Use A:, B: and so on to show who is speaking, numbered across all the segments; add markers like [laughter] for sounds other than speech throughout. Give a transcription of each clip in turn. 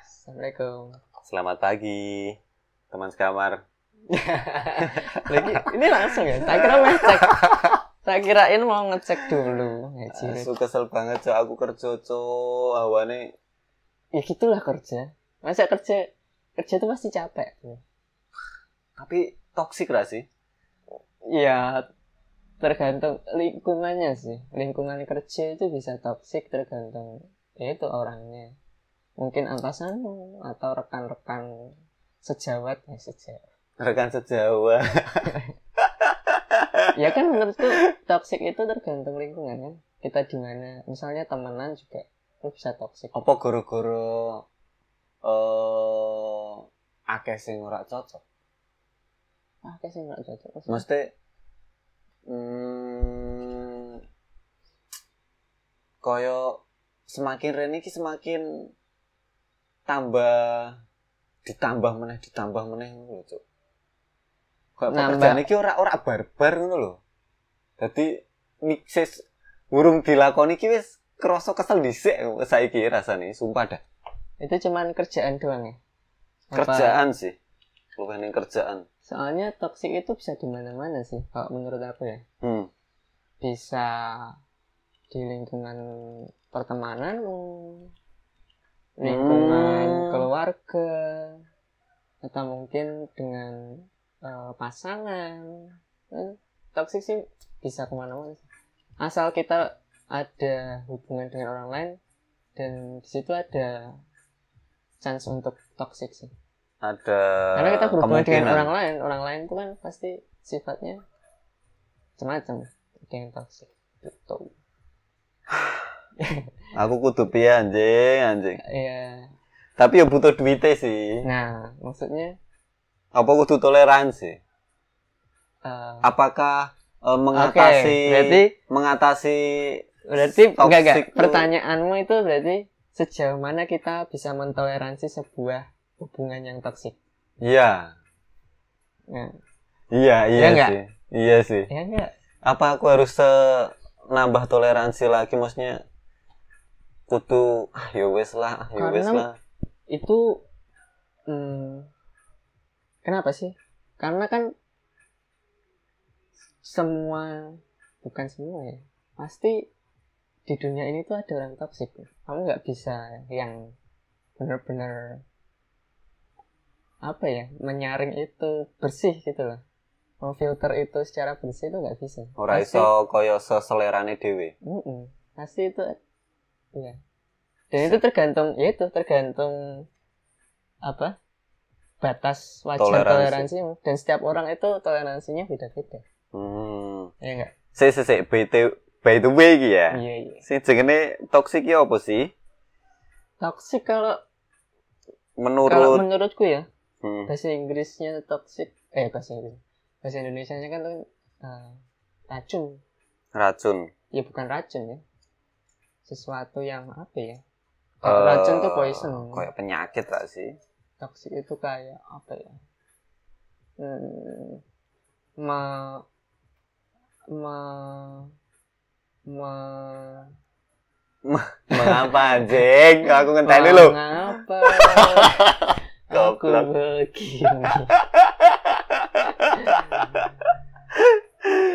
A: Assalamualaikum.
B: Selamat pagi, teman sekamar.
A: [laughs] Lagi ini langsung ya. Tak kira ngecek. Tak kirain mau ngecek dulu. Ya, Jiret.
B: Asu Eh, kesel banget, Cok. Aku kerja, Cok. Awane
A: ya gitulah kerja. Masa kerja kerja tuh pasti capek.
B: tapi toksik lah sih.
A: Ya tergantung lingkungannya sih. Lingkungan kerja itu bisa toksik tergantung ya itu orangnya. Mungkin atasanmu atau rekan-rekan sejawat ya sejawat.
B: Rekan sejawa.
A: ya kan menurutku toksik itu tergantung lingkungan kan kita di mana misalnya temenan juga itu bisa Ah, toksik
B: Apa goro-goro eh akeh sing ora cocok?
A: ah kayak sih nggak cocok Maksudnya,
B: Mesti hmm, koyo semakin rene iki semakin tambah ditambah meneh ditambah meneh ngono lho, Cuk. Kayak
A: Nambah.
B: pekerjaan iki ora ora barbar ngono lho. Dadi mixes urung dilakoni iki wis kerasa kesel dhisik saiki rasane, sumpah dah.
A: itu cuman kerjaan doang ya Apa-
B: Kerjaan sih. Luwih ning kerjaan.
A: soalnya toksik itu bisa di mana mana sih kalau menurut aku ya
B: Hmm.
A: bisa di lingkungan pertemananmu lingkungan
B: Hmm.
A: keluarga atau mungkin dengan eh, pasangan Eh, toksik sih bisa kemana-mana sih. asal kita ada hubungan dengan orang lain dan di situ ada chance untuk toksik sih
B: Ada
A: karena kita berhubungan dengan
B: Eh, kemungkinan.
A: orang lain orang lain itu kan pasti sifatnya macam-macam ada yang toksik gitu
B: Aku kudu piye anjing, anjing.
A: ya
B: Tapi ya butuh duitnya sih.
A: nah maksudnya
B: Apa kudu toleransi?
A: eh,
B: Apakah eh, mengatasi
A: Oke, berarti
B: mengatasi
A: berarti
B: toxic
A: enggak enggak
B: tuh-
A: pertanyaanmu itu berarti sejauh mana kita bisa mentoleransi sebuah hubungan yang toksik
B: Iya.
A: nah
B: Iya, iya
A: Iya nggak?
B: sih. Iya sih.
A: ya enggak
B: Apa aku harus eh, nambah toleransi lagi maksudnya kudu ah ya wes lah, ah, ya wes
A: Karena-
B: lah.
A: itu hmm, kenapa sih karena kan semua bukan semua ya pasti di dunia ini tuh ada orang toksik kamu nggak bisa yang bener-bener apa ya menyaring itu bersih gitu loh memfilter itu secara bersih itu nggak bisa
B: Ora
A: Pasti-
B: iso koyo seselerane dhewe.
A: Mm-mm. Pasti itu ya. Dan itu tergantung ya itu tergantung apa? batas wajar
B: Toleransi.
A: toleransimu dan setiap orang itu toleransinya beda-beda.
B: Hmm.
A: Ya enggak?
B: Sik sik sik by the by the way iki ya.
A: Iya, iya.
B: Sing jenenge toksik ya apa sih?
A: Toxic kalau kalau
B: Menurut
A: menurutku ya,
B: Hmm.
A: bahasa Inggrisnya toxic eh bahasa Inggris. Bahasa Indonesianya kan tuh eh, racun.
B: racun.
A: Ya bukan racun ya. Sesuatu yang apa ya?
B: Eh,
A: racun tuh poison.
B: Kayak penyakit lah sih.
A: toksik itu kayak apa ya hmm, me, me, me,
B: Mengapa
A: [laughs]
B: anjing? Aku ngenteni lo. [laughs]
A: mengapa aku
B: Goblok. [laughs]
A: begini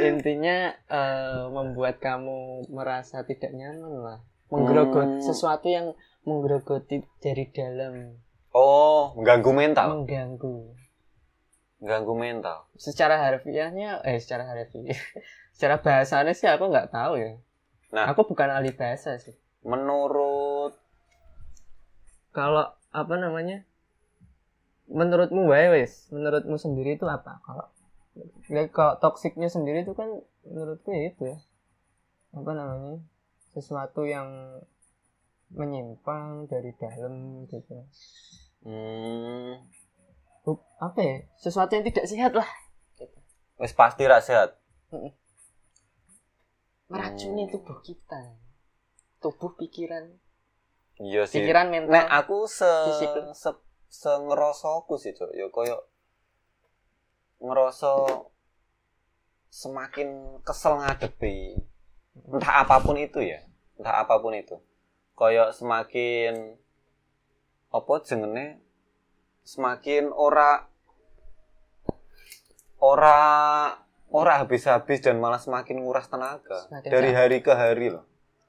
A: intinya eh, membuat kamu merasa tidak nyaman lah menggerogoti
B: Hmm.
A: sesuatu yang menggerogoti dari dalam
B: Oh, mengganggu mental.
A: mengganggu
B: Mengganggu mental.
A: secara harfiahnya eh secara harfiah [laughs] secara bahasanya sih aku nggak tahu ya
B: Nah.
A: aku bukan ahli bahasa sih
B: Menurut
A: kalau apa namanya menurutmu wae wes menurutmu sendiri itu apa kalau ya, kalau toksiknya sendiri itu kan menurutku ya itu ya apa namanya sesuatu yang menyimpang dari dalam gitu
B: hmm,
A: Hub- apa ya sesuatu yang tidak sehat lah
B: wis pasti rak sehat.
A: meracuni
B: Hmm.
A: tubuh kita tubuh pikiran
B: Iya sih.
A: pikiran mental
B: Nek aku se
A: Fisik.
B: se, se ngerosoku sih, Cuk. Ya koyo ngeroso semakin kesel ngadepi entah apapun itu ya. Entah apapun itu. Koyo semakin apa jengene semakin ora ora ora habis-habis dan malah semakin nguras tenaga
A: Semakin
B: dari
A: capek.
B: hari ke hari loh.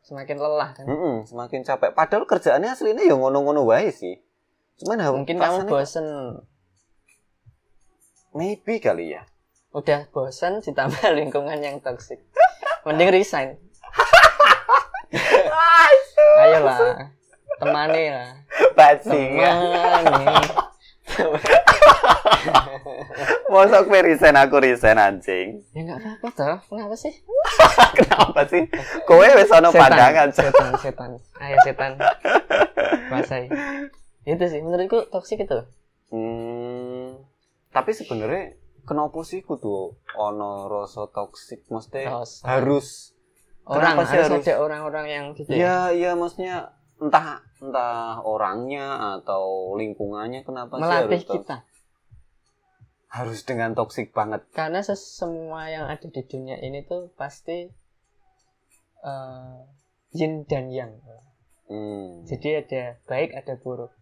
A: semakin lelah kan
B: Mm-mm, semakin capek. Padahal kerjaannya aslinya ya ngono-ngono wae sih. Cuman ha-
A: mungkin kamu
B: rasanya-
A: bosen
B: maybe kali ya.
A: udah bosen ditambah [laughs] lingkungan yang toksik mending resign ayolah temani lah
B: Bajingan.
A: temani
B: Mosok kowe resign aku resign anjing. [laughs]
A: ya nggak apa-apa toh kenapa sih
B: Kenapa sih? Kowe wis ono pandangan. Cok.
A: setan setan ayo setan kuasai itu sih menurutku toksik itu
B: Hmm, tapi sebenarnya kenapa sih kudu ono rasa toksik mesti
A: Rasa.
B: Eh, harus
A: orang
B: Kenapa sih
A: harus
B: harus-
A: ada orang-orang yang gitu ya
B: ya ya maksudnya entah entah orangnya atau lingkungannya kenapa
A: melatih
B: sih harus to-
A: kita
B: harus dengan toksik banget
A: karena ses- semua yang ada di dunia ini tuh pasti eh, yin dan yang
B: hmm.
A: jadi ada baik ada buruk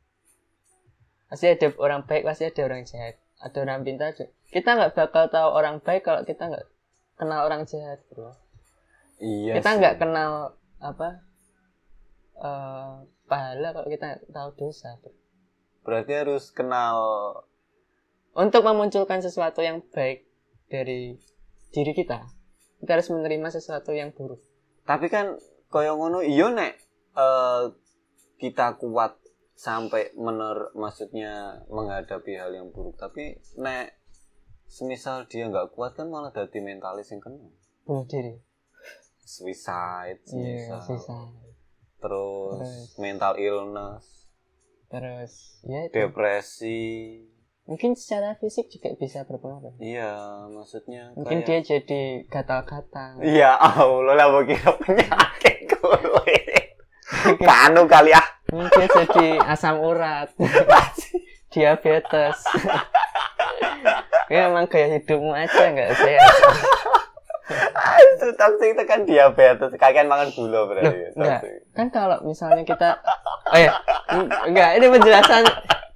A: pasti ada orang baik pasti ada orang jahat ada orang pintar ada- kita nggak bakal tahu orang baik kalau kita nggak kenal orang jahat bro
B: iya
A: kita
B: sih.
A: nggak kenal apa eh, pahala kalau kita nggak tahu dosa bro.
B: berarti harus kenal
A: untuk memunculkan sesuatu yang baik dari diri kita kita harus menerima sesuatu yang buruk
B: tapi kan kaya ngono iya nek eh, kita kuat sampai mener maksudnya menghadapi hal yang buruk tapi nek semisal dia nggak kuat kan malah jadi mentalis yang kena
A: bunuh diri
B: suicide,
A: iya
B: misal.
A: susah
B: terus
A: Terus.
B: mental illness
A: terus ya itu.
B: depresi
A: mungkin secara fisik juga bisa berpengaruh
B: iya maksudnya
A: mungkin
B: kayak-
A: dia jadi gatal-gatal
B: iya Allah lah bagi penyakit
A: [laughs]
B: kowe panu kali ah
A: mungkin dia jadi asam
B: [laughs]
A: urat diabetes ya emang gaya hidupmu aja nggak sehat
B: itu toksik itu kan diabetes kalian makan gula
A: Loh,
B: berarti
A: enggak.
B: toksik
A: kan kalau misalnya kita oh ya enggak ini penjelasan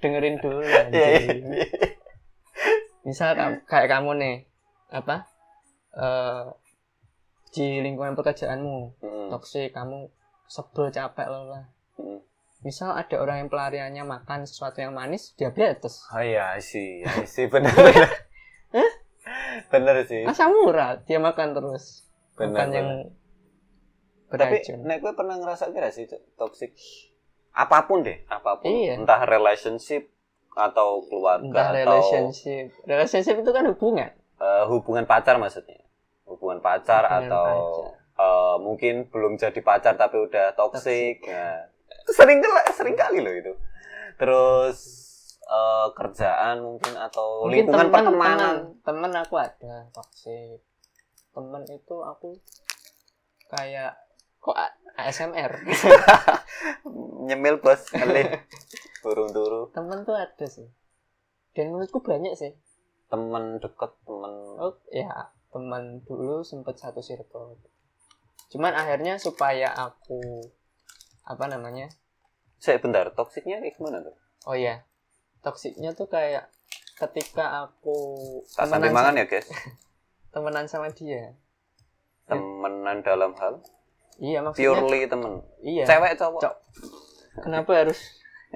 A: dengerin dulu anjing.
B: iya iya [laughs]
A: misal kam- kayak kamu nih apa eh di lingkungan pekerjaanmu
B: Mm,
A: toksik kamu sebel capek lo lah
B: mm.
A: misal ada orang yang pelariannya makan sesuatu yang manis diabetes
B: oh iya sih iya sih bener bener bener sih
A: asam urat dia makan terus
B: Iya. Benar,
A: makan yang
B: tapi
A: beracun
B: nek gue pernah ngerasa kira sih Cuk, toxic apapun deh apapun
A: Iya.
B: entah relationship atau keluarga
A: entah
B: atau
A: relationship relationship itu kan hubungan
B: eh, hubungan pacar maksudnya hubungan pacar
A: Hubungan
B: atau eh, mungkin belum jadi pacar tapi udah toksik
A: Toxic.
B: ya. sering kela- sering kali loh itu terus eh, kerjaan mungkin atau Oh, lingkungan pertemanan
A: teman teman aku ada toxic temen itu aku kayak kok A- [laughs] ASMR
B: nyemil bos ngelit burung turu
A: temen tuh ada sih dan menurutku banyak sih
B: temen deket temen
A: oh ya teman dulu sempet satu circle cuman akhirnya supaya aku apa namanya
B: saya bentar toksiknya kayak gimana tuh
A: oh ya toksiknya tuh kayak ketika aku
B: tak sambil
A: sama-
B: mangan ya guys
A: temenan sama dia
B: temenan dalam hal
A: iya maksudnya
B: purely temen
A: iya
B: cewek cowok
A: Cok. kenapa harus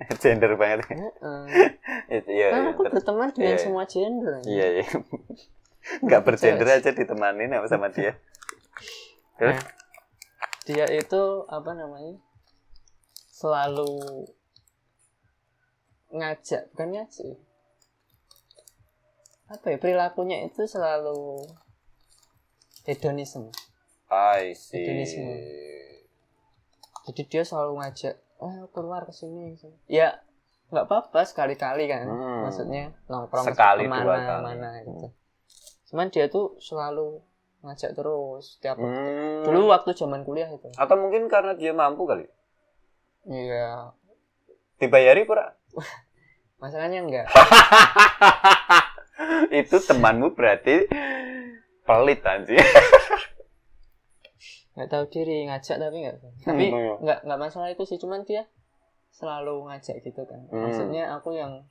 B: [laughs] gender banget
A: Heeh.
B: iya iya
A: kan aku
B: ter-
A: berteman dengan
B: iya, iya.
A: semua Nah, gender
B: iya
A: [laughs]
B: iya nggak bergender aja ditemani sama sama dia
A: Nah, dia itu apa namanya selalu ngajak bukan ngajak ya. apa ya perilakunya itu selalu hedonisme
B: I
A: Hedonisme.
B: see
A: jadi dia selalu ngajak oh keluar ke sini ke sini." ya nggak apa-apa sekali-kali kan
B: Hmm.
A: maksudnya nongkrong
B: Sekali,
A: kemana
B: dua kali.
A: mana gitu cuman dia tuh selalu ngajak terus tiap
B: Hmm.
A: dulu waktu zaman kuliah itu
B: atau mungkin karena dia mampu kali
A: iya
B: dibayari pura
A: masalahnya enggak
B: [laughs] itu temanmu berarti pelit anjir
A: nggak tahu diri ngajak tapi nggak tapi
B: [laughs] Hmm, iya.
A: nggak nggak masalah itu sih cuman dia selalu ngajak gitu kan
B: Hmm.
A: maksudnya aku yang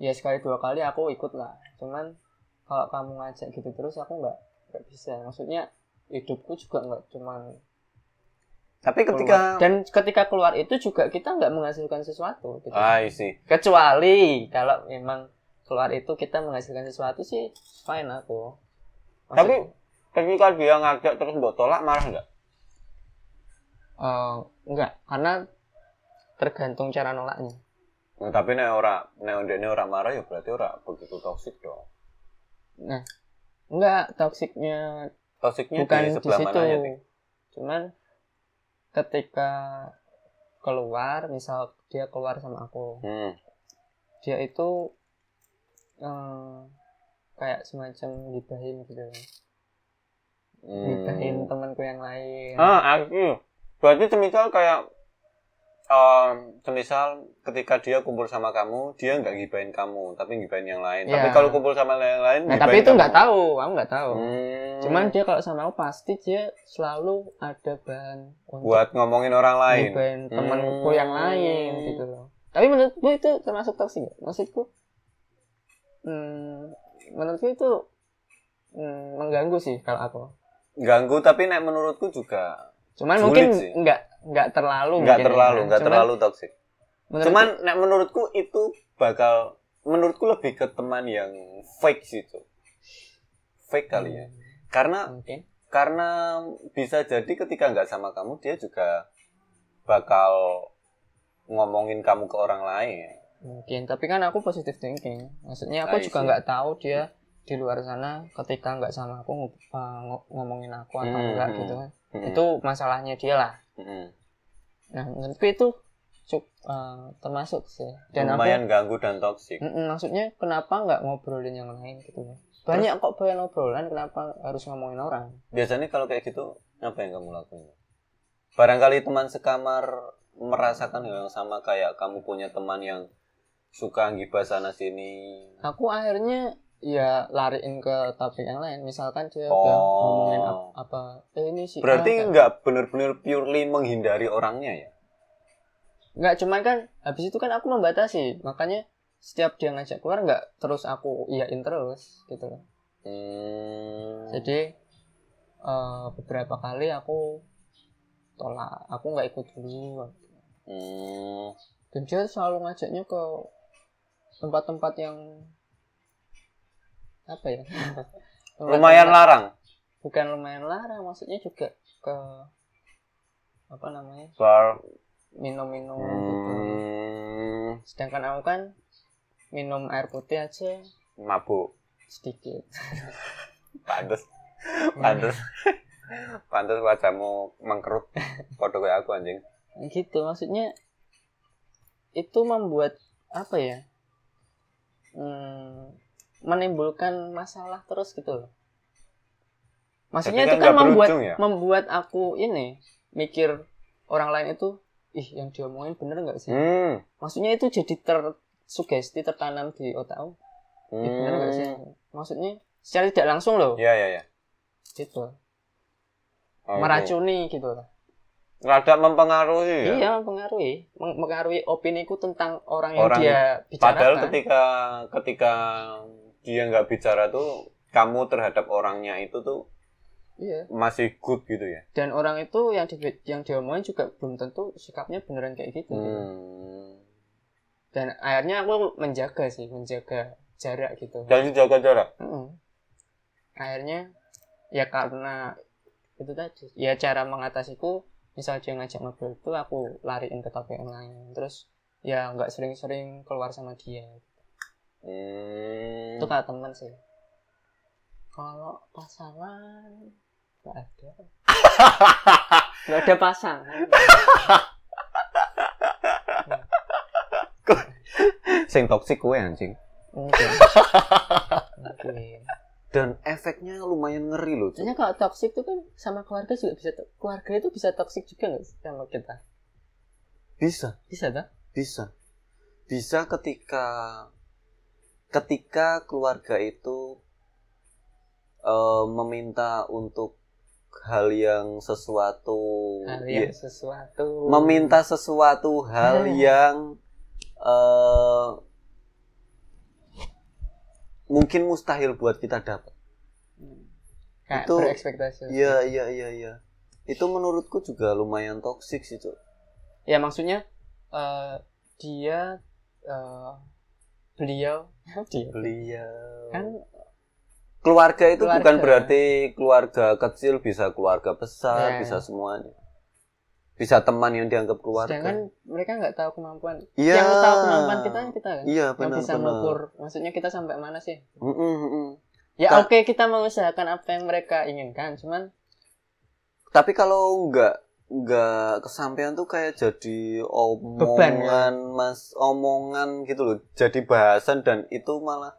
A: ya sekali dua kali aku ikut lah cuman kalau kamu ngajak gitu terus aku nggak nggak bisa maksudnya hidupku juga nggak cuman
B: [laughs] Tapi
A: keluar.
B: ketika
A: dan ketika keluar itu juga kita nggak menghasilkan sesuatu gitu.
B: ah isi
A: kecuali kalau memang keluar itu kita menghasilkan sesuatu sih fine aku Maksud-
B: Tapi- ketika dia ngajak terus mbok tolak marah nggak?
A: Eh, enggak karena tergantung cara nolaknya
B: Nah, tapi nek ora nek ndekne ora marah ya berarti ora begitu toksik dong.
A: Nah, enggak toksiknya
B: Toksiknya
A: bukan
B: di
A: di
B: sebelah
A: situ
B: mananya nih?
A: cuman ketika keluar misal dia keluar sama aku
B: Hmm.
A: dia itu eh, kayak semacam gibahin gitu
B: Hmm.
A: gibahin temanku yang lain
B: Ah, aku. Berarti semisal kayak em, semisal ketika dia kumpul sama kamu, dia nggak gibain kamu, tapi gibain yang lain.
A: Iya.
B: Tapi kalau kumpul sama yang lain,
A: nah
B: gibain
A: tapi itu
B: kamu.
A: nggak tahu aku nggak tahu
B: Hmm.
A: cuman dia kalau sama aku pasti dia selalu ada bahan untuk
B: buat ngomongin orang lain.
A: ngebain temanku yang
B: Hmm.
A: lain gitu loh tapi menurutku itu termasuk toksik nggak? maksudku hmm, menurutku itu hmm, mengganggu sih kalau aku
B: Ganggu tapi nek menurutku juga
A: cuman
B: Sulit
A: mungkin
B: sih.
A: nggak nggak terlalu mungkin
B: nggak
A: ya.
B: terlalu, nggak
A: Cuman
B: terlalu toksik.
A: menurutku- [laughs]
B: Cuman nek menurutku itu bakal menurutku lebih ke teman yang fake situ. Fake kali ya. Karena
A: mungkin
B: karena bisa jadi ketika nggak sama kamu dia juga bakal ngomongin kamu ke orang lain
A: mungkin tapi kan aku positive thinking maksudnya aku
B: I
A: juga
B: see.
A: nggak tahu dia di luar sana ketika nggak sama aku ng- eh, ng- ngomongin aku atau
B: Hmm,
A: enggak
B: hmm.
A: gitu kan itu masalahnya dia lah
B: Mm-mm.
A: nah menurutku itu cuk- eh, termasuk sih dan aku
B: lumayan ganggu dan toksik
A: Mm-mm, maksudnya kenapa nggak ngobrolin yang lain gitu ya banyak kok banyak obrolan kenapa harus ngomongin orang
B: biasanya kalau kayak gitu apa yang kamu lakuin barangkali teman sekamar merasakan hal yang sama kayak kamu punya teman yang suka ngibah sana sini
A: aku akhirnya ya lariin ke topik yang lain misalkan dia
B: Oh.
A: udah ngomongin ap- apa eh, ini sih
B: berarti nggak bener-bener purely menghindari orangnya ya
A: nggak cuman kan habis itu kan aku membatasi makanya setiap dia ngajak keluar nggak terus aku iyain terus gitu loh
B: Hmm.
A: jadi eh, beberapa kali aku tolak aku nggak ikut dulu
B: Hmm.
A: dan dia selalu ngajaknya ke tempat-tempat yang apa ya Tempat-tempat-
B: lumayan larang
A: bukan lumayan larang maksudnya juga ke apa namanya
B: bar
A: minum-minum gitu
B: Hmm.
A: sedangkan aku kan minum air putih aja
B: mabuk
A: sedikit
B: pantes
A: Hmm.
B: pantes [laughs] pantes wajahmu mengkerut [laughs] foto kayak aku anjing
A: gitu maksudnya itu membuat apa ya hmm, menimbulkan masalah terus gitu loh maksudnya itu kan
B: Tapi kan nggak
A: membuat
B: berujung ya?
A: membuat aku ini mikir orang lain itu ih yang diomongin bener nggak sih
B: hmm.
A: maksudnya itu jadi tersugesti tertanam di otak aku ih bener nggak sih
B: hmm.
A: maksudnya secara tidak langsung loh
B: ya Oh, iya. ya ya
A: gitu
B: Oke.
A: meracuni gitu loh
B: Oh, rada mempengaruhi ya
A: Iya, mempengaruhi, Meng- mempengaruhi opini ku tentang orang yang
B: Orang-
A: dia bicarakan.
B: padahal ketika ketika dia nggak bicara tuh kamu terhadap orangnya itu tuh
A: Iya.
B: masih good gitu ya
A: Dan orang itu yang di, yang diomongin juga belum tentu sikapnya beneran kayak gitu.
B: hmm.
A: Dan akhirnya aku menjaga sih, menjaga jarak gitu.
B: jadi jaga jarak
A: Mm-mm. Akhirnya ya karena itu tadi, ya cara mengatasiku misal dia ngajak ngobrol itu aku lariin ke topik yang lain. Terus ya nggak sering-sering keluar sama dia.
B: hmm.
A: itu kan. kalau teman sih kalau pasangan nggak
B: [laughs]
A: ada nggak ada pasangan
B: sing toksik kue anjing
A: mungkin mungkin
B: dan efeknya lumayan ngeri loh Cuk.
A: Soalnya kalau toksik itu kan sama keluarga juga bisa to- keluarga itu bisa toksik juga nggak sih sama kita
B: bisa
A: bisa tak
B: bisa bisa ketika ketika keluarga itu eh, meminta untuk hal yang sesuatu
A: hal
B: ya,
A: yang sesuatu
B: meminta sesuatu hal
A: Hmm.
B: yang eh, mungkin mustahil buat kita dapat.
A: Hmm. kayak
B: itu-
A: berekspektasi
B: Iya iya iya iya. Itu menurutku juga lumayan toksik sih Cuk.
A: ya maksudnya eh, dia eh, beliau dia
B: Beliau.
A: kan
B: keluarga itu
A: Keluarga.
B: bukan berarti keluarga kecil bisa keluarga besar
A: Nah.
B: bisa semuanya. Bisa teman yang dianggap keluarga.
A: sedangkan mereka nggak tahu kemampuan
B: Iya.
A: yang tahu kemampuan kita kan kita kan
B: Iya
A: yang
B: benar
A: bisa
B: benar.
A: mengukur maksudnya kita sampai mana sih
B: Mm-mm, mm-mm.
A: ya
B: Ka-
A: oke kita mengusahakan apa yang mereka inginkan cuman
B: Tapi kalau nggak nggak kesampaian tuh kayak jadi
A: Beban,
B: omongan
A: ya?
B: mas omongan gitu loh jadi bahasan dan itu malah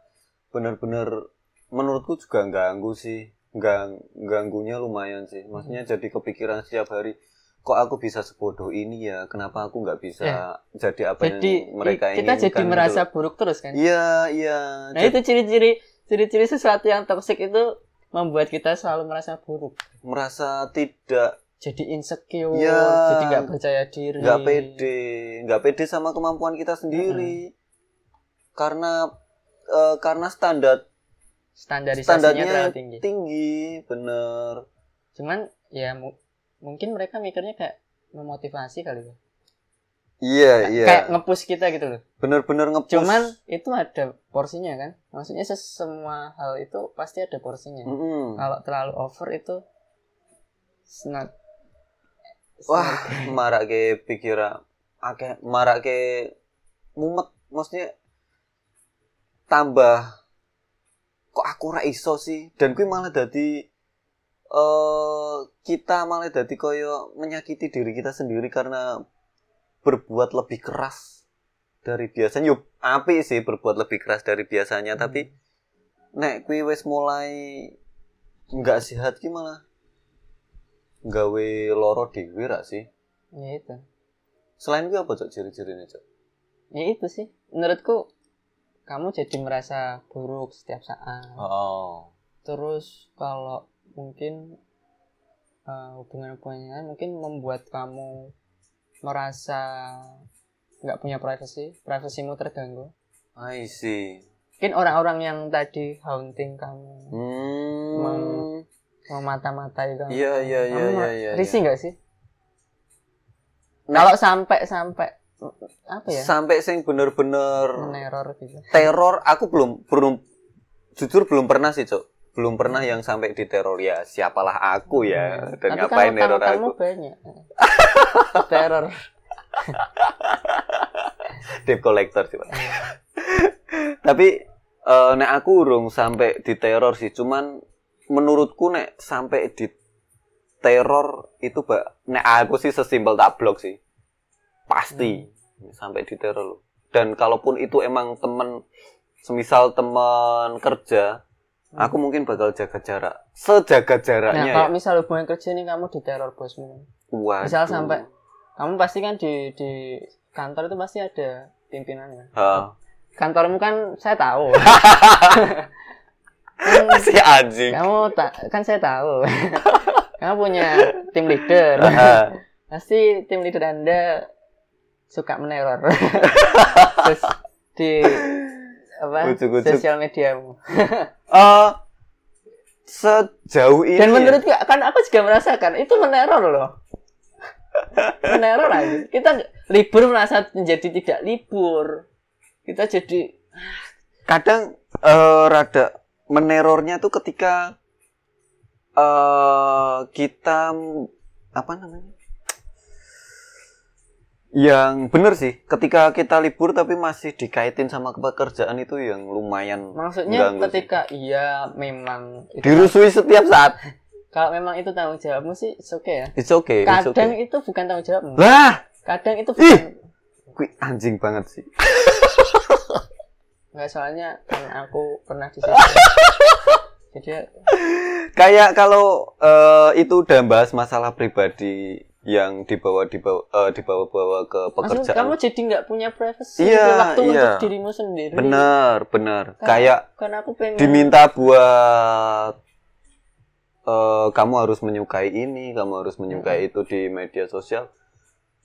B: bener-bener menurutku juga ganggu sih gang ganggunya lumayan sih maksudnya jadi kepikiran setiap hari kok aku bisa sebodoh ini ya kenapa aku nggak bisa jadi apa
A: Ya. jadi
B: yang
A: kita
B: mereka inginkan
A: jadi
B: gitu
A: merasa
B: loh.
A: buruk terus kan
B: iya iya
A: nah itu
B: jadi
A: ciri-ciri ciri-ciri sesuatu yang toksik itu membuat kita selalu merasa buruk
B: merasa tidak
A: jadi insecure
B: Iya.
A: jadi nggak percaya diri
B: nggak pede nggak pede sama kemampuan kita sendiri karena eh, karena standar
A: standarisasinya
B: standarnya
A: terlalu tinggi
B: tinggi bener
A: cuman ya mu- mungkin mereka mikirnya kayak memotivasi kali ya
B: iya iya
A: kayak ngepush kita gitu loh
B: bener-bener ngepush
A: cuman itu ada porsinya kan maksudnya ses- semua hal itu pasti ada porsinya
B: Mm-mm.
A: kalau terlalu over itu it's not it's
B: wah
A: not-
B: marak ke pikiran akeh marak ke mumet maksudnya tambah kok aku ra iso sih dan kui malah dadi eh kita malah dadi koyo menyakiti diri kita sendiri karena berbuat lebih keras dari biasanya yuk api sih berbuat lebih keras dari biasanya tapi nek kui wis mulai nggak sehat ki malah gawe loro dhewe ra sih
A: ya itu
B: selain kui apa cok ciri-cirinya cok
A: ya itu sih menurutku kamu jadi merasa buruk setiap saat
B: oh
A: terus kalau mungkin eh, hubungan-hubungannya mungkin membuat kamu merasa nggak punya privasi privasimu terganggu
B: I see
A: mungkin orang-orang yang tadi haunting kamu
B: hmm
A: Mem- memata-matai kamu
B: iya iya iya
A: Kamu
B: iya iya
A: risih nggak sih
B: Nah.
A: kalau sampai sampai apa ya
B: sampai sing bener-bener
A: meneror gitu
B: teror aku belum belum jujur belum pernah sih cok belum pernah yang sampai diteror ya siapalah aku ya
A: Hmm.
B: dan
A: Tapi
B: ngapain
A: kalau
B: neror
A: tamu-tamu
B: aku
A: banyak
B: [laughs]
A: teror Nah,
B: debt collector sih Pak. [laughs] tapi eh, nek aku urung sampai diteror sih cuman menurutku nek sampai di teror itu bak nek aku sih sesimpel tak blok sih pasti
A: Hmm.
B: sampai diteror loh dan kalaupun itu emang temen semisal temen kerja
A: Hmm.
B: aku mungkin bakal jaga jarak sejaga
A: nah
B: jaraknya
A: kalau
B: ya
A: misal hubungan kerja ini kamu diteror bosmu
B: Waduh.
A: misal sampai kamu pasti kan di di kantor itu pasti ada pimpinannya
B: Ha.
A: kantormu kan saya
B: [laughs]
A: tahu Kan
B: si anjing
A: kamu tak kan saya tahu [laughs] kamu punya tim leader pasti tim leader anda suka
B: [laughs]
A: meneror terus di apa
B: Ujuk-ujuk.
A: sosial mediamu
B: Eh, sejauh ini
A: dan
B: ya.
A: menurut gua- kan aku juga merasakan itu meneror loh meneror aja kita libur merasa menjadi tidak libur kita jadi
B: kadang eh, rada menerornya tuh ketika eh kita m- apa namanya yang bener sih ketika kita libur tapi masih dikaitin sama pekerjaan itu yang lumayan
A: maksudnya
B: mengganggu sih.
A: ketika iya memang itu-
B: dirusui setiap saat
A: kalau memang itu tanggung jawabmu sih oke ya
B: it's okay it's
A: kadang
B: okay
A: itu bukan tanggung jawabmu
B: lah
A: kadang itu bukan
B: kui anjing banget sih
A: nggak soalnya kan aku pernah
B: [laughs]
A: di situ jadi
B: kayak kalau eh, itu udah bahas masalah pribadi yang dibawa dibawa eh, dibawa-bawa ke
A: maksud
B: pekerjaan
A: kamu jadi nggak punya privasi
B: Iya,
A: gitu, waktu
B: iya.
A: untuk dirimu sendiri
B: Bener, bener.
A: Kan-
B: Kayak
A: karena aku pengen
B: diminta buat eh, kamu harus menyukai ini, kamu harus menyukai itu di media sosial.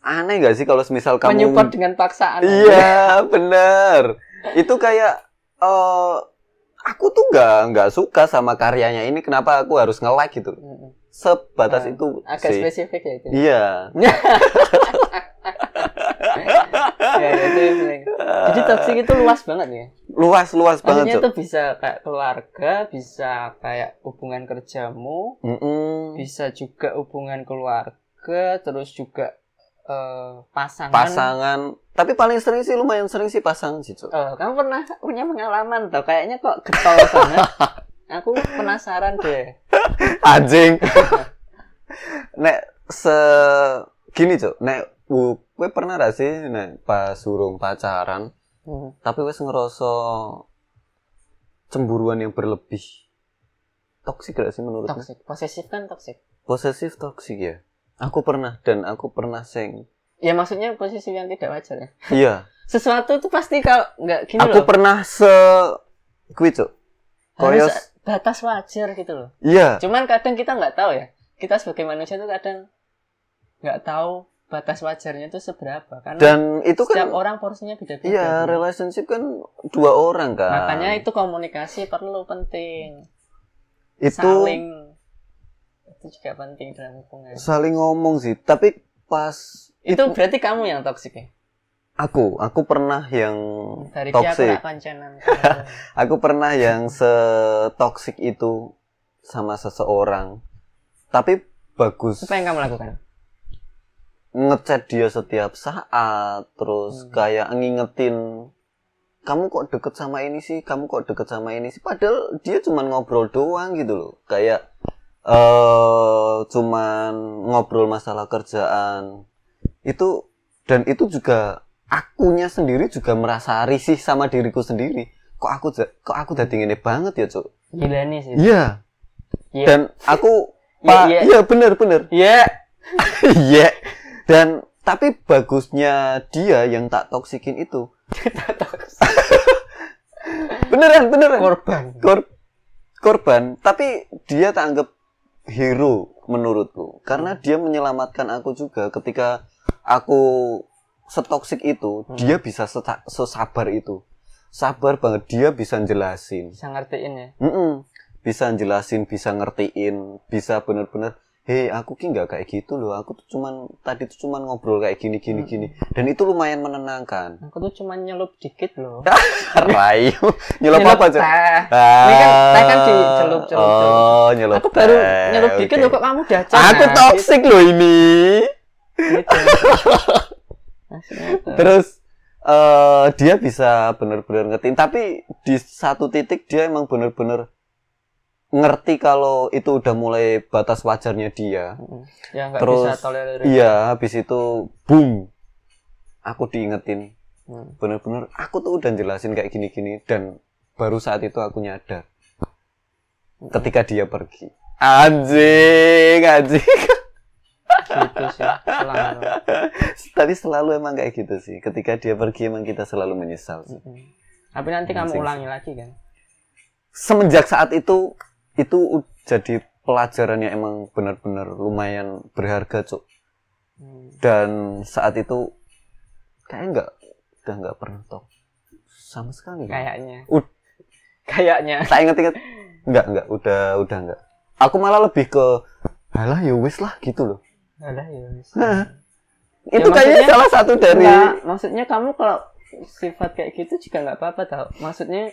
B: Aneh gak sih kalau semisal kamu
A: menyupport dengan paksaan
B: Iya, bener. Itu kayak eh aku tuh nggak nggak suka sama karyanya ini. Kenapa aku harus nge-like gitu?
A: Mm-mm.
B: Sebatas
A: Nah,
B: itu
A: agak
B: sih.
A: spesifik ya itu
B: Iya. Iya.
A: ya, ya, itu yang sering. jadi toksik itu luas banget ya
B: luas luas
A: maksudnya
B: banget. Sob.
A: tuh bisa kayak keluarga bisa kayak hubungan kerjamu
B: Mm-mm.
A: bisa juga hubungan keluarga terus juga eh, pasangan
B: Pasangan. Tapi paling sering sih lumayan sering sih pasangan
A: [laughs]
B: sih. Cok.
A: Eh, kamu pernah punya pengalaman tuh kayaknya kok getol
B: [laughs]
A: banget aku penasaran deh
B: Anjing. [laughs] nek se gini cok. Nek wu- kowe pernah gak sih nek pas urung pacaran
A: Hmm.
B: tapi wes ngerasa cemburuan yang berlebih toksik gak sih menurut
A: toksik posesif kan toksik
B: posesif toksik ya aku pernah dan aku pernah seng
A: ya maksudnya posesif yang tidak wajar ya
B: iya
A: sesuatu tuh pasti kalau nggak gini
B: aku
A: loh
B: pernah se kuwi Cuk.
A: harus
B: koyos-
A: batas wajar gitu loh
B: iya
A: cuman kadang kita nggak tahu ya kita sebagai manusia tuh kadang nggak tahu batas wajarnya itu seberapa karena
B: dan itu
A: setiap
B: kan
A: orang porsinya beda-beda
B: iya relationship kan dua orang kan
A: makanya itu komunikasi perlu penting
B: itu
A: saling itu juga penting dalam hubungan
B: saling ngomong sih tapi pas
A: itu berarti kamu yang toksik ya
B: aku aku pernah yang
A: dari dia aku
B: toksik
A: gak kancanan
B: [laughs] Aku pernah yang setoksik itu sama seseorang. Tapi bagus.
A: apa yang kamu lakukan
B: Ngechat dia setiap saat, terus
A: Hmm.
B: kayak ngingetin kamu kok deket sama ini sih, kamu kok deket sama ini sih. Padahal dia cuman ngobrol doang gitu loh. Kayak eh cuman ngobrol masalah kerjaan. Itu dan itu juga akunya sendiri juga merasa risih sama diriku sendiri. Kok aku ja- kok aku dadi ngene banget ya, Cuk?
A: gila nih sih
B: Iya.
A: Iya.
B: Dan aku
A: Iya,
B: Pak,
A: iya.
B: iya bener bener.
A: Iya.
B: [laughs] Iya. Dan tapi bagusnya dia yang tak toksikin itu. Beneran beneran.
A: korban
B: Kor- korban, tapi dia tak anggap hero menurutku. Karena dia menyelamatkan aku juga ketika aku setoksik itu,
A: Hmm.
B: dia bisa seta- sesabar itu. Sabar banget dia bisa jelasin.
A: bisa ngertiin ya
B: Mm-mm. Bisa jelasin, bisa ngertiin, bisa bener-bener. Hei, aku ki nggak kayak gitu loh. Aku tuh cuman tadi tuh cuman ngobrol kayak gini gini gini. Dan itu lumayan
A: [laughs]
B: menenangkan.
A: aku tuh cuma nyelup dikit loh
B: Rayu, nyelup apa Cuk?
A: teh.
B: Ah,
A: Ini kan teh kan dicelup, celup,
B: Oh, nyelup.
A: aku baru
B: teh,
A: nyelup dikit
B: oke.
A: loh kok kamu dajal
B: Aku
A: Nah,
B: toksik loh ini.
A: gitu. Maksudnya tuh.
B: Terus eh dia bisa bener-bener ngertiin, tapi di satu titik dia emang bener-bener ngerti kalau itu udah mulai batas wajarnya dia.
A: Mm. ya nggak
B: Terus,
A: bisa tolerir
B: Iya, habis itu boom. Aku diingetin.
A: Hmm.
B: Bener-bener aku tuh udah jelasin kayak gini-gini dan baru saat itu aku nyadar ketika dia pergi. Anjing, anjing. [laughs]
A: gitu sih selama
B: Tapi selalu emang kayak gitu sih. Ketika dia pergi emang kita selalu menyesal. sih.
A: Mm-mm. Hmm. tapi nanti kamu
B: Anjing.
A: ulangi lagi kan
B: Semenjak saat itu itu u- jadi pelajaran yang emang bener-bener lumayan berharga, Cuk.
A: Hmm.
B: Dan saat itu kayaknya nggak udah nggak pernah toh sama sekali.
A: kayaknya
B: Ud-
A: kayaknya
B: tak inget-inget enggak enggak udah udah enggak aku malah lebih ke alah ya wis lah gitu loh
A: Alah, ya wis.
B: Hah.
A: Ya,
B: itu kayaknya
A: maksudnya-
B: salah satu dari
A: Nggak, maksudnya kamu kalau sifat kayak gitu juga nggak apa-apa tau maksudnya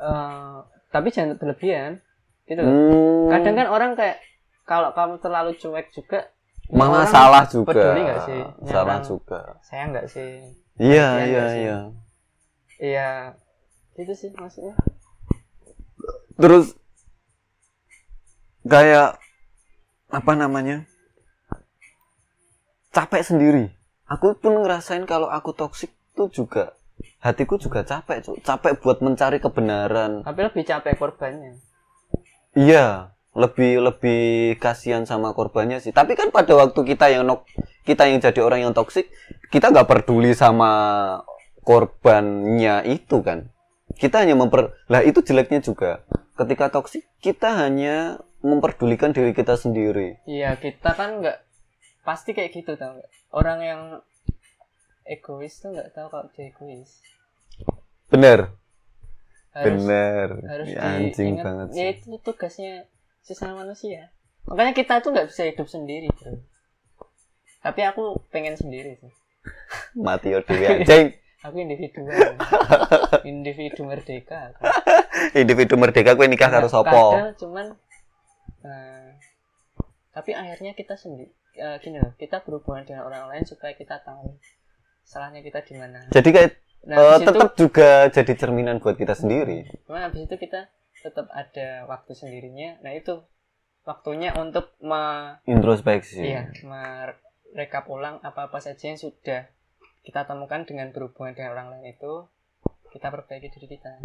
A: eh, tapi jangan berlebihan gitu loh.
B: Hmm,
A: kadang kan orang kayak kalau kamu terlalu cuek juga ya
B: malah
A: orang
B: salah juga
A: peduli nggak sih? Ya,
B: salah
A: orang-
B: juga
A: saya nggak sih
B: iya
A: Iya
B: iya
A: nggak sih?
B: iya
A: iya gitu sih maksudnya
B: terus kayak apa namanya capek sendiri aku pun ngerasain kalau aku toksik tuh juga hatiku juga capek Cuk. capek buat mencari kebenaran
A: tapi lebih capek korbannya
B: Iya, lebih lebih kasihan sama korbannya sih. Tapi kan pada waktu kita yang nok, kita yang jadi orang yang toksik, kita nggak peduli sama korbannya itu kan. Kita hanya memper, lah itu jeleknya juga. ketika toksik kita hanya memperdulikan diri kita sendiri
A: Iya kita kan nggak pasti kayak gitu tau nggak? Orang yang egois tuh nggak tahu kalau dia egois.
B: bener
A: Harus
B: bener
A: harus
B: Ya, anjing
A: diingat,
B: banget
A: Ya
B: sih
A: itu tugasnya sesama manusia. Makanya kita tuh nggak bisa hidup sendiri bro. Tapi aku pengen sendiri sih.
B: mati yo
A: [laughs]
B: dhewe anjing
A: Aku
B: [laughs]
A: individual. individu merdeka. Aku.
B: individu merdeka kue nikah karo sapa
A: Kadang cuman eh, tapi akhirnya kita sendiri eh, gini loh, kita berhubungan dengan orang lain supaya kita tahu salahnya kita di mana.
B: jadi kayak
A: Nah,
B: eh,
A: habis itu,
B: tetap juga jadi cerminan buat kita sendiri
A: cuman habis itu kita tetap ada waktu sendirinya. Nah, itu waktunya untuk me,
B: introspeksi
A: iya, merekap ulang apa-apa saja yang sudah kita temukan dengan berhubungan dengan orang lain itu kita perbaiki diri kita.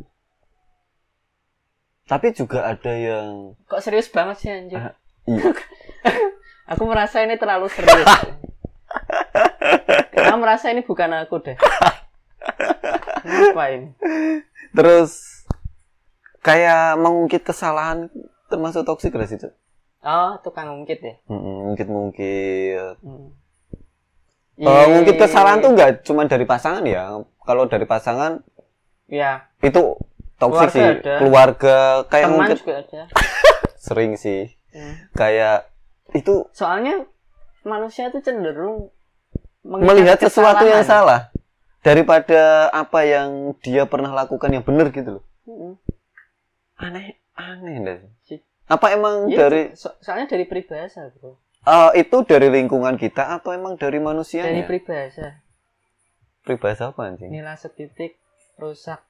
B: tapi juga ada yang
A: Kok serius banget sih anjir? [laughs]
B: Ah, iya.
A: Aku merasa ini terlalu serius. Karena merasa ini bukan aku deh. Kenapa ini?
B: terus kayak mengungkit kesalahan termasuk toksik gak sih Cuk?
A: Oh, tukang ngungkit ya.
B: Mm-mm, mungkin mungkin
A: Hmm. Iya.
B: Eh, mungkin
A: Ih,
B: kesalahan tuh nggak cuma dari pasangan ya kalau dari pasangan
A: Ya,
B: itu
A: Keluarga
B: toksik sih
A: ada.
B: keluarga kayak
A: teman
B: mungkin
A: juga ada.
B: sering sih
A: Hmm.
B: kayak itu
A: Soalnya manusia tuh cenderung mengingat
B: melihat sesuatu yang
A: kesalahan.
B: salah daripada apa yang dia pernah lakukan yang benar gitu loh
A: Hmm.
B: aneh aneh dah
A: Si-
B: apa emang
A: Iya,
B: dari
A: so- soalnya dari peribahasa, Bro.
B: eh, itu dari lingkungan kita atau emang dari manusia
A: Dari
B: dari
A: peribahasa,
B: peribahasa apa anjing
A: nilai setitik rusak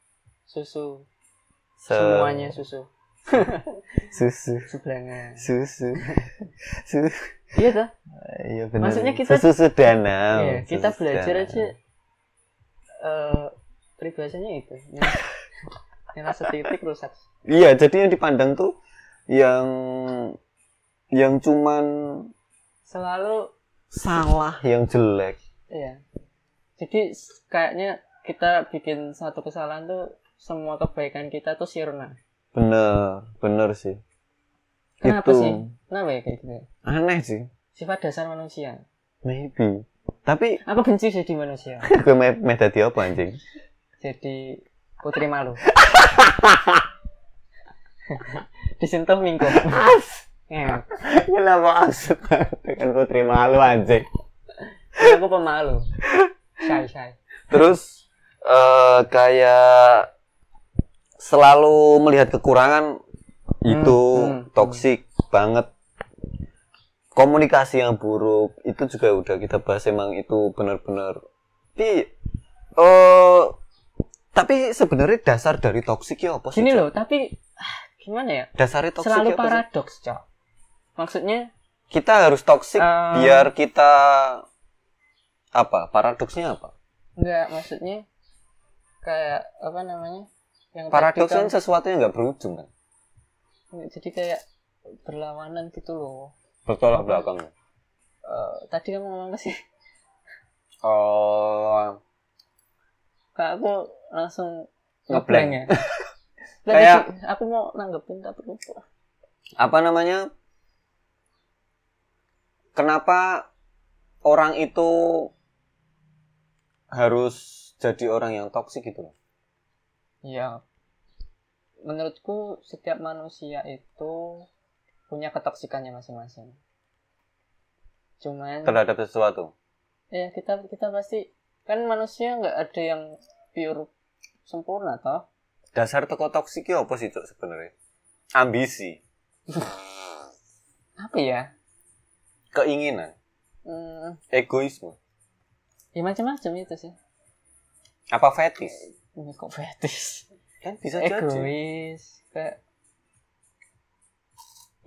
A: susu,
B: Se-
A: semuanya susu,
B: susu
A: sebelanga.
B: susu susu
A: Iya toh?
B: iya benar
A: Maksudnya kita-
B: susu danau
A: Iya, kita
B: Oh, Susu
A: belajar
B: danau.
A: aja eh peribahasanya itu.
B: [laughs]
A: Nilai setitik rusak.
B: Iya, jadi yang dipandang tuh yang yang cuman
A: Selalu
B: salah, yang jelek.
A: ya. Jadi s- kayaknya kita bikin satu kesalahan tuh semua kebaikan kita tuh sirna.
B: Bener, bener sih.
A: Kenapa
B: Gitu.
A: sih? Kenapa ya kayak gitu? ya?
B: Aneh sih.
A: Sifat dasar manusia.
B: Maybe. Tapi
A: Aku benci jadi manusia.
B: gue meh meh dadi apa anjing?
A: Jadi putri
B: [laughs]
A: malu. [laughs] Disentuh minggu. Ya,
B: Kenapa asik [laughs] dengan putri malu anjing?
A: aku pemalu. Shy shy.
B: Terus eh, kayak selalu melihat kekurangan itu
A: hmm,
B: toksik banget. Komunikasi yang buruk itu juga udah kita bahas emang itu benar-benar. Tapi eh, tapi sebenarnya dasar dari toksik ya apa sih?
A: Gini
B: Cok?
A: loh, tapi ah, gimana ya?
B: Dasarnya toksik
A: selalu
B: ya apa sih?
A: paradoks, Cok. Maksudnya
B: Kita harus toksik
A: Eh.
B: biar kita apa? Paradoksnya apa?
A: enggak maksudnya kayak apa namanya? Yang tadi
B: Paradoksnya
A: kan-
B: sesuatu yang nggak berujung kan?
A: jadi kayak berlawanan gitu loh.
B: Bertolak belakang.
A: Eh, tadi kamu ngomong apa sih?
B: Oh,
A: Kak aku langsung
B: Ngeblank.
A: [laughs] ngeblank ya.
B: Kayak-
A: Kayak aku mau nanggepin tapi lupa.
B: apa namanya? Kenapa orang itu harus jadi orang yang toksik gitu loh?
A: Iya. Menurutku setiap manusia itu punya ketoksikannya masing-masing. Cuman
B: Terhadap sesuatu.
A: ya kita kita pasti kan manusia nggak ada yang pure sempurna toh
B: Dasar teko toksik ya apa sih, Cok, sebenarnya? Ambisi,
A: apa ya
B: keinginan,
A: hmm,
B: egoisme,
A: ya macam-macam itu sih
B: apa fetis?
A: ini kok fetis
B: Kan bisa jadi.
A: egois Eh,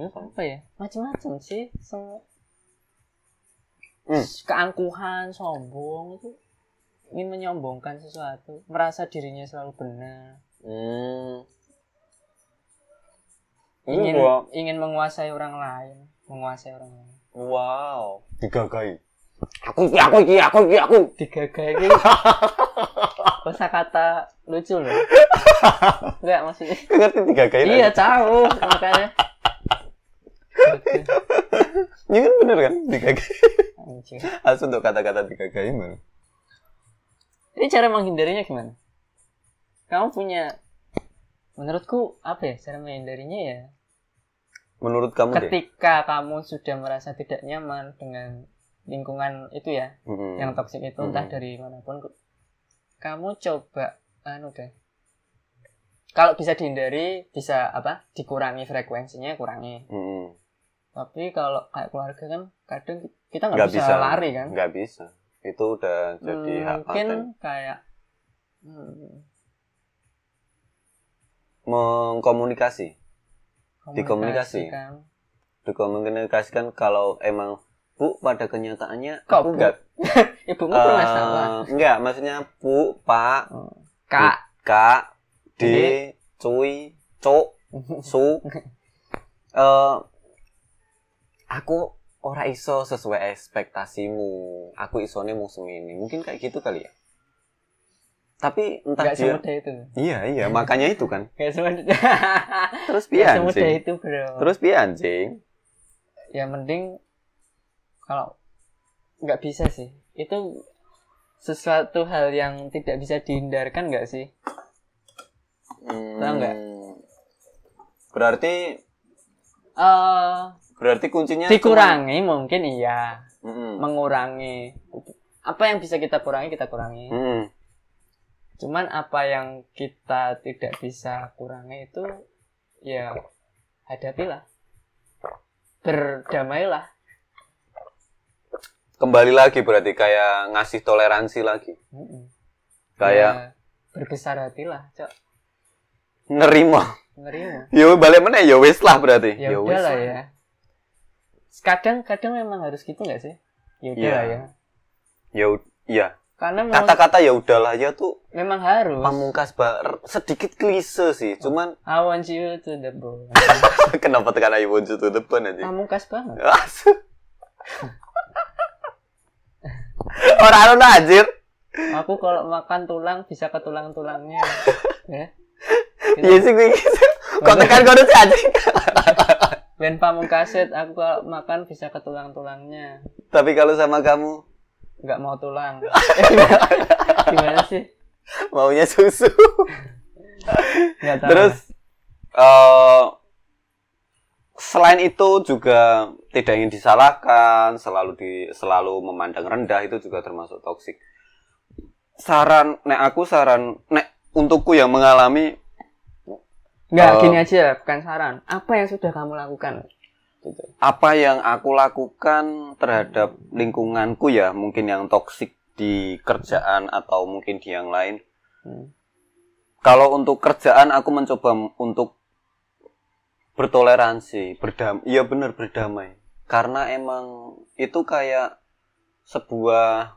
A: kayak
B: Hmm.
A: apa ya macam-macam sih semua
B: Hmm.
A: keangkuhan sombong itu ingin menyombongkan sesuatu merasa dirinya selalu benar
B: Hmm.
A: ingin
B: Wah,
A: ingin menguasai orang lain menguasai orang lain
B: wow. Digagahi. Aku iki, aku iki, aku iki, aku.
A: digagai [laughs] kosa kata lucu loh enggak maksudnya
B: ngerti tiga kali
A: iya tahu
B: [laughs]
A: makanya
B: ini kan bener kan [laughs] tiga kali
A: Anjing.
B: asal untuk kata-kata tiga kali mana
A: Ini cara menghindarinya gimana? Kamu punya menurutku apa ya cara menghindarinya ya?
B: menurut kamu deh
A: Ketika kamu sudah merasa tidak nyaman dengan lingkungan itu ya,
B: Mm-mm.
A: yang toksik itu entah
B: Hmm.
A: dari manapun ku- kamu coba anu deh. Kalau bisa dihindari, bisa apa? Dikurangi frekuensinya, kurangi.
B: Mm-mm.
A: Tapi kalau kayak keluarga kan kadang kita nggak
B: nggak
A: bisa,
B: bisa
A: lari kan.
B: nggak bisa itu udah jadi
A: mungkin
B: hak paten
A: kayak hmm,
B: mengkomunikasi
A: dikomunikasikan.
B: dikomunikasikan kalau emang bu pada kenyataannya
A: Kok, Bu?
B: aku nggak
A: Ibumu
B: eh,
A: bermasalah.
B: nggak maksudnya bu pak
A: Kak.
B: kak d
A: Dek.
B: cuy cok su
A: [laughs]
B: eh aku ora iso sesuai ekspektasimu aku isone mau semini mungkin kayak gitu kali ya tapi entah
A: Gak
B: dia
A: semudah itu.
B: iya
A: [laughs]
B: iya makanya itu kan
A: Gak
B: [laughs]
A: semudah.
B: terus
A: Gak
B: piye
A: semudah
B: anjing
A: itu, Bro.
B: Iya, terus piye anjing
A: ya mending kalau nggak bisa sih. Itu sesuatu hal yang tidak bisa dihindarkan nggak sih? Tahu nggak?
B: Hmm. berarti
A: eh
B: berarti kuncinya
A: dikurangi mungkin iya,
B: cuman- Mm-mm.
A: mengurangi. Apa yang bisa kita kurangi kita kurangi.
B: Mm-mm.
A: cuman apa yang kita tidak bisa kurangi itu ya hadapilah berdamailah
B: kembali lagi berarti kayak ngasih toleransi lagi
A: Mm-mm.
B: kayak
A: Ya, berbesar hatilah cok
B: nerima
A: nerima
B: yo balik mana yo wis lah berarti
A: ya
B: Yo
A: udah
B: wis
A: lah ya kadang kadang memang harus gitu nggak sih ya udah
B: Iya.
A: lah ya
B: ya ud- iya
A: karena memang,
B: kata-kata ya udahlah ya tuh
A: memang harus
B: pamungkas bar sedikit klise sih cuman [laughs]
A: I want you to the bone
B: kenapa tekan ayu wujud tuh depan aja [laughs]
A: pamungkas banget
B: orang anu orang anjir
A: aku kalau makan tulang bisa ke tulang tulangnya ya
B: iya sih gue gitu kok tekan kau sih anjing [laughs]
A: Ben pamungkasit aku kalau makan bisa ke tulang-tulangnya.
B: tapi kalau sama kamu
A: Nggak mau
B: [laughs]
A: tulang. Gimana sih?
B: maunya susu
A: Nggak tahu.
B: terus eh selain itu juga tidak ingin disalahkan selalu di selalu memandang rendah itu juga termasuk toksik saran nek aku saran nek untukku yang mengalami
A: Nggak,
B: Eh,
A: gini aja, bukan saran. Apa yang sudah kamu lakukan? Gitu.
B: apa yang aku lakukan terhadap lingkunganku ya mungkin yang toksik di kerjaan atau mungkin di yang lain
A: Hmm.
B: kalau untuk kerjaan aku mencoba m- untuk bertoleransi berdam iya bener berdamai karena emang itu kayak sebuah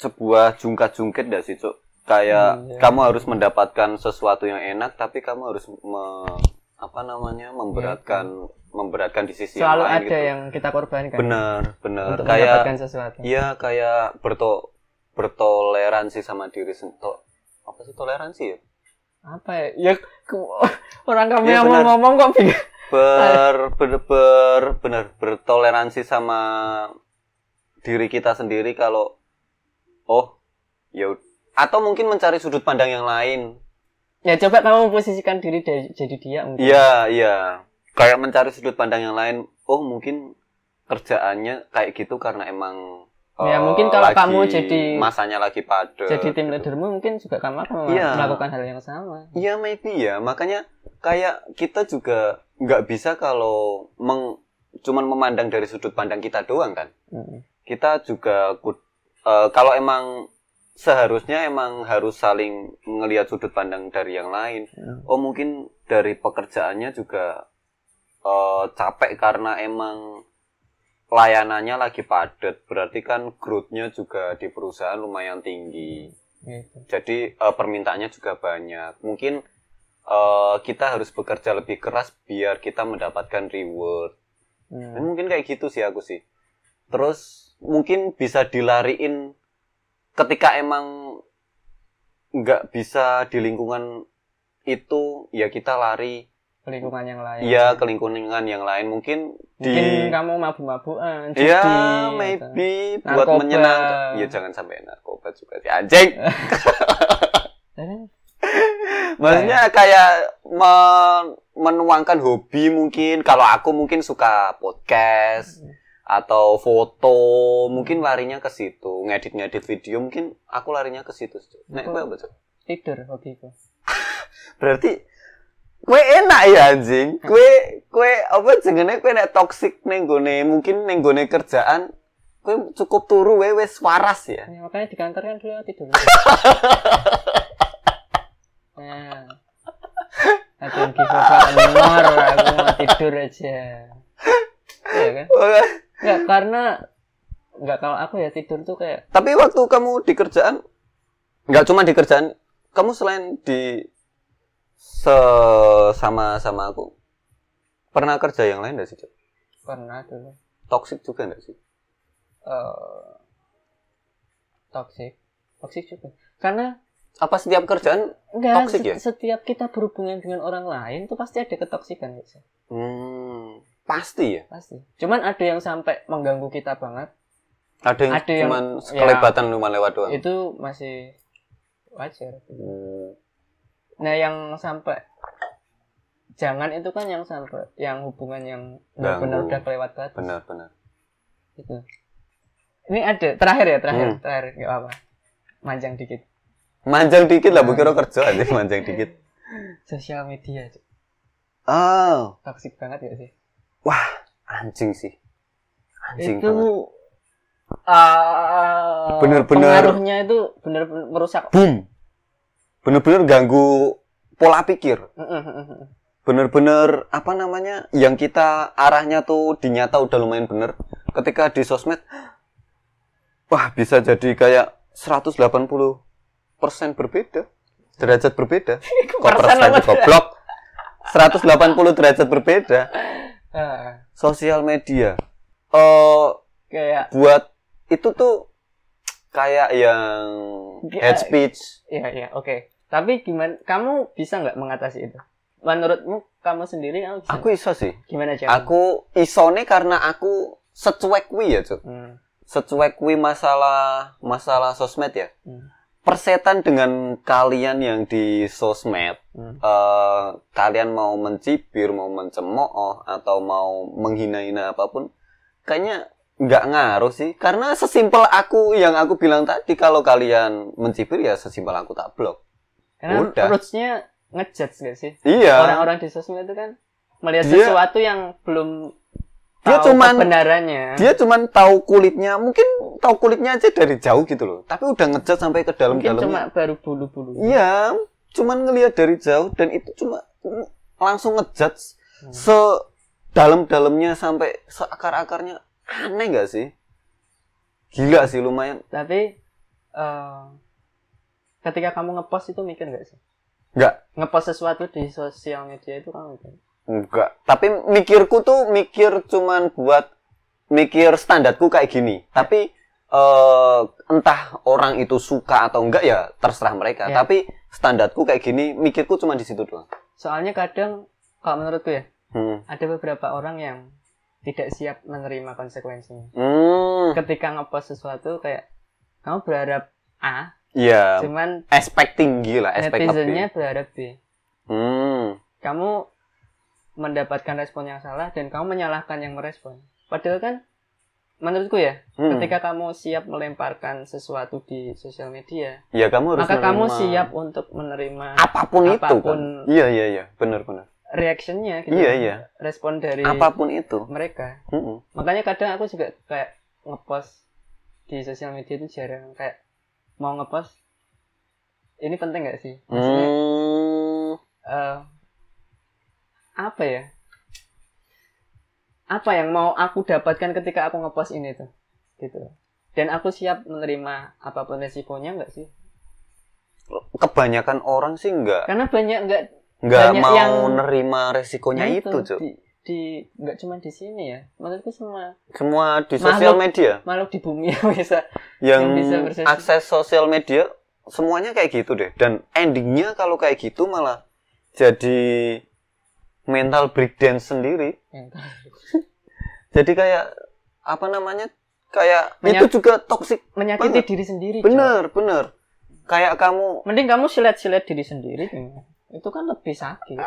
B: sebuah jungkat-jungkit gak sih cuk kayak
A: Iya.
B: kamu harus mendapatkan sesuatu yang enak tapi kamu harus me- apa namanya memberatkan memberatkan di sisi
A: Iya, Selalu
B: yang lain
A: ada
B: gitu.
A: yang kita korbankan.
B: bener bener
A: Untuk
B: kayak
A: mendapatkan sesuatu.
B: Iya kayak berto bertoleransi sama diri sendiri. Apa sih toleransi ya?
A: Apa ya? Ya, ke- [laughs] orang kamu
B: Iya,
A: yang
B: benar.
A: mau ngomong kok bingung. Eh.
B: Ber ber, ber bener bertoleransi sama diri kita sendiri kalau oh ya ud- atau mungkin mencari sudut pandang yang lain.
A: Ya, coba kamu posisikan diri dari, jadi dia. mungkin.
B: Iya, iya. Kayak mencari sudut pandang yang lain. Oh, mungkin kerjaannya kayak gitu karena emang
A: Ya,
B: eh,
A: mungkin kalau
B: lagi-
A: kamu jadi-
B: masanya lagi padat. gitu.
A: Jadi tim leadermu mungkin juga kamu akan
B: Iya.
A: melakukan hal yang sama.
B: Iya maybe ya makanya kayak kita juga nggak bisa kalau meng, cuman memandang dari sudut pandang kita doang kan
A: Mm.
B: kita juga ku- eh, kalau emang seharusnya emang harus saling ngelihat sudut pandang dari yang lain
A: Mm.
B: oh mungkin dari pekerjaannya juga eh, capek karena emang layanannya lagi padat berarti kan growth-nya juga di perusahaan lumayan tinggi
A: Gitu.
B: jadi eh, permintaannya juga banyak mungkin eh, kita harus bekerja lebih keras biar kita mendapatkan reward
A: Mm.
B: mungkin kayak gitu sih aku sih terus mungkin bisa dilariin ketika emang nggak bisa di lingkungan itu ya kita lari
A: ke lingkungan yang lain
B: ya ke lingkungan yang lain mungkin di
A: Iya, mungkin kamu mabuk-mabukan
B: ya
A: judi, gitu.
B: maybe buat
A: Narkoba.
B: menyenangkan ya jangan sampai narkoba juga sih anjing
A: Jadi,
B: maksudnya kayak men- menuangkan hobi mungkin kalau aku mungkin suka podcast atau foto mungkin larinya ke situ ngedit ngedit video mungkin aku larinya ke situ nek kowe apa, Cuk?
A: tidur hobiku
B: berarti kue enak ya anjing kue kue apa jenenge kue nek toksik neng gone mungkin neng gone kerjaan kue cukup turu we wes waras ya
A: Ya, makanya di kantor kan dulu
B: [laughs]
A: tidur. nah. Aku yang give up anymore, aku mau tidur aja. Iya kan? Enggak, karena enggak kalau aku ya tidur tuh kayak
B: tapi waktu kamu di kerjaan nggak cuma di kerjaan kamu selain di se sama sama aku pernah kerja yang lain nggak sih Cok?
A: pernah dulu
B: toksik juga nggak sih
A: eh toxic. Toxic juga. Karena
B: apa setiap kerjaan
A: enggak
B: Toxic
A: se-
B: ya?
A: setiap kita berhubungan dengan orang lain tuh pasti ada ketoksikan gitu.
B: hmm, pasti ya
A: Pasti. Cuman ada yang sampai mengganggu kita banget,
B: ada yang
A: Ada yang- ya.
B: cuman sekelebatan cuma lewat doang
A: itu masih wajar.
B: Hmm.
A: Nah yang sampai jangan itu kan yang sampai yang hubungan yang benar-benar
B: Ganggu.
A: udah kelewat batas
B: benar-benar
A: gitu. Ini ada terakhir ya terakhir
B: Hmm.
A: terakhir nggak apa manjang dikit
B: manjang dikit lah bu kira kerja aja manjang dikit
A: sosial media Cuk.
B: oh
A: toksik banget ya sih
B: wah anjing sih anjing
A: itu
B: banget.
A: ah,
B: Bener-bener-
A: pengaruhnya itu benar-benar merusak
B: boom bener-bener ganggu pola pikir bener-bener apa namanya yang kita arahnya tuh di nyata udah lumayan bener ketika di sosmed wah bisa jadi kayak 180% berbeda derajat berbeda kok
A: Persen
B: persen
A: banget.
B: goblok 180 derajat berbeda
A: Ah,
B: sosial media eh
A: kayak
B: buat itu tuh kayak yang head speech
A: ya ya oke tapi gimana kamu bisa nggak mengatasi itu menurutmu kamu sendiri kamu bisa
B: aku iso sih
A: gimana cara
B: aku isone karena aku secuek kuwi ya Cuk.
A: Hmm,
B: secuek kuwi masalah masalah sosmed ya
A: hmm,
B: persetan dengan kalian yang di sosmed
A: hmm.
B: eh, kalian mau mencibir mau mencemooh atau mau menghina-hina apapun kayaknya nggak ngaruh sih karena sesimpel aku yang aku bilang tadi kalau kalian mencibir ya sesimpel aku tak blok
A: Karena
B: Udah.
A: approach-nya ngejudge gak sih?
B: iya
A: Orang-orang di sosmed itu kan melihat
B: Dia-
A: sesuatu yang belum
B: Iya. Dia
A: tahu
B: cuman-
A: kebenarannya.
B: dia cuman tahu kulitnya mungkin tahu kulitnya aja dari jauh gitu loh tapi udah ngejat sampai ke
A: Mungkin cuma
B: dalam-dalamnya
A: baru bulu-bulu.
B: iya cuman ngelihat dari jauh dan itu cuma mm, langsung ngejat
A: Hmm.
B: se dalam-dalamnya sampai seakar-akarnya aneh nggak sih gila sih lumayan
A: Tapi eh, ketika kamu ngepost itu mikir gak sih?
B: nggak
A: Ngepost sesuatu di sosial media itu kamu mikir.
B: Enggak. Tapi mikirku tuh mikir cuman buat mikir standarku kayak gini. Tapi eh entah orang itu suka atau enggak ya terserah mereka.
A: Ya.
B: Tapi standarku kayak gini, mikirku cuma di situ doang.
A: Soalnya kadang kalau menurutku ya,
B: Hmm.
A: ada beberapa orang yang tidak siap menerima konsekuensinya.
B: Hmm.
A: Ketika ngepost sesuatu kayak kamu berharap A,
B: Iya.
A: cuman
B: Expect tinggi lah, expect
A: netizennya
B: lebih.
A: berharap B.
B: Hmm.
A: kamu mendapatkan respon yang salah dan kamu menyalahkan yang merespon. Padahal kan menurutku ya,
B: Hmm.
A: ketika kamu siap melemparkan sesuatu di sosial media,
B: ya kamu harus
A: maka kamu
B: menerima
A: siap untuk menerima
B: apapun, itu kan.
A: apapun-
B: Iya, iya, iya. Benar, benar.
A: reactionnya gitu.
B: Iya, iya.
A: Respon dari
B: Apapun itu. Hmm.
A: mereka.
B: Mm-mm.
A: Makanya kadang aku juga kayak ngepost di sosial media itu jarang kayak mau ngepost ini penting gak sih? Maksudnya
B: Hmm.
A: eh apa ya? Apa yang mau aku dapatkan ketika aku ngepost ini tuh? Gitu. Dan aku siap menerima apapun resikonya nggak sih?
B: Kebanyakan orang sih enggak
A: Karena banyak nggak
B: nggak
A: Kan Banyak
B: mau
A: yang-
B: nerima resikonya
A: nah
B: itu, Cuk.
A: di- di nggak cuma di sini ya maksudku semua
B: semua di sosial
A: Makhluk.
B: media
A: makhluk di bumi [laughs] yang bisa
B: yang,
A: Yang bisa bersosial-
B: akses sosial media semuanya kayak gitu deh dan endingnya kalau kayak gitu malah jadi mental breakdown sendiri jadi kayak apa namanya kayak
A: Menyak-
B: itu juga toksik
A: menyakiti
B: Bener.
A: diri sendiri Jo.
B: bener bener kayak
A: [laughs]
B: kamu
A: mending kamu silet-silet diri sendiri Jo. itu kan lebih sakit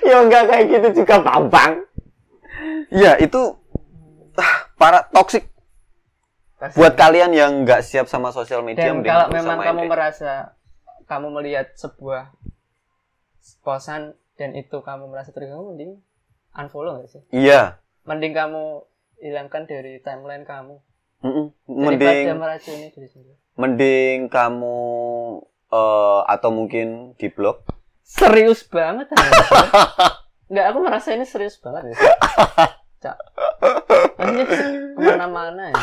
B: ya enggak kayak gitu juga bambang ya itu ah, para toksik buat kalian yang nggak siap sama sosial media
A: dan
B: mending
A: kalau
B: nggak usah
A: memang
B: main
A: kamu
B: deh.
A: merasa kamu melihat sebuah posan dan itu kamu merasa terganggu mending unfollow gak sih
B: iya
A: mending kamu hilangkan dari timeline kamu
B: Mm-mm. mending
A: daripada meracuni diri sendiri
B: mending kamu eh, atau mungkin di blog
A: serius banget
B: [laughs]
A: kan nggak aku merasa ini serius banget ya cak maksudnya kemana-mana ya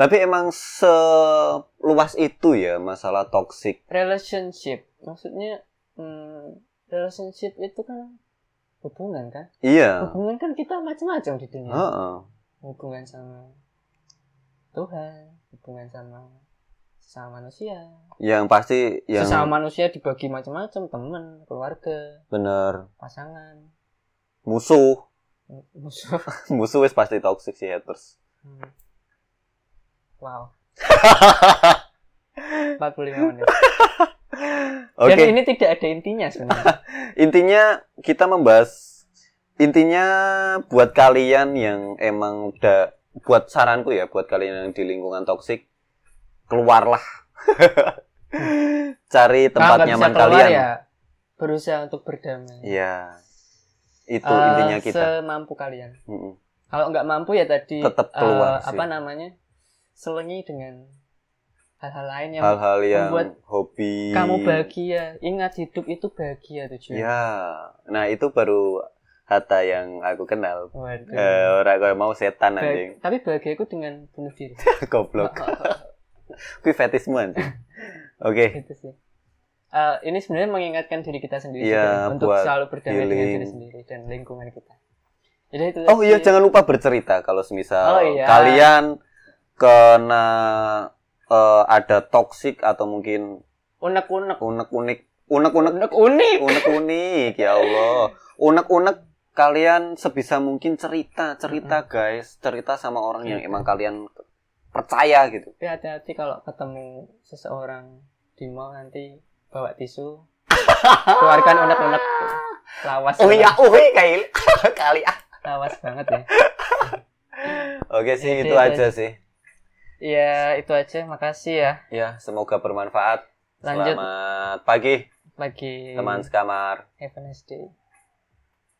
B: tapi emang seluas itu ya masalah toksik
A: relationship maksudnya hmm, relationship itu kan hubungan kan
B: iya
A: hubungan kan kita macam-macam di dunia
B: Heeh.
A: hubungan sama Tuhan hubungan sama sesama manusia
B: yang pasti yang
A: sesama manusia dibagi macam-macam teman keluarga
B: bener
A: pasangan
B: musuh [laughs]
A: musuh
B: musuh wis pasti toksik sih haters
A: Hmm.
B: [laughs]
A: wow 45 menit
B: oke
A: dan ini tidak ada intinya sebenarnya
B: intinya kita membahas intinya buat kalian yang emang udah buat saranku ya buat kalian yang di lingkungan toksik keluarlah [laughs] cari tempat
A: Kalau nggak bisa
B: nyaman
A: keluar
B: kalian
A: ya berusaha untuk berdamai
B: Iya. itu
A: Eh,
B: intinya kita
A: semampu kalian
B: Mm-mm.
A: kalau nggak mampu ya tadi
B: Tetap
A: eh,
B: keluar sih.
A: apa namanya selengi dengan hal-hal lain yang
B: hal-hal yang
A: membuat
B: hobi
A: kamu bahagia ingat hidup itu bahagia tujuan
B: ya nah itu baru Hatta yang aku kenal
A: Waduh.
B: eh orang kayak mau setan
A: Bah-
B: anjing [laughs]
A: tapi bahagia itu dengan bunuh diri [laughs] Oh,
B: goblok kui fetismu anjing oke
A: Gitu sih Eh, ini sebenarnya mengingatkan diri kita sendiri
B: Iya,
A: juga, untuk
B: buat
A: selalu berdamai dengan
B: healing.
A: diri sendiri dan lingkungan kita jadi itu
B: Oh iya
A: sih.
B: jangan lupa bercerita kalau semisal
A: Oh, iya.
B: kalian kena eh, ada toksik atau mungkin
A: unek unek
B: unek-unek unek-unek
A: unek unik
B: unek-unek ya Allah. Unek-unek kalian sebisa mungkin cerita, cerita guys, cerita sama orang
A: Iya.
B: yang emang kalian percaya gitu.
A: tapi hati-hati kalau ketemu seseorang di mall nanti bawa
B: [laughs]
A: tisu keluarkan unek unek lawas
B: Oh
A: banget.
B: iya, oh iya kail.
A: [laughs]
B: kali ah.
A: lawas banget ya
B: Oke sih
A: Iya,
B: itu
A: iya,
B: aja sih.
A: Iya itu aja makasih ya
B: Ya, semoga bermanfaat.
A: lanjut Iya.
B: Selamat pagi
A: lagi
B: teman sekamar.
A: have a nice day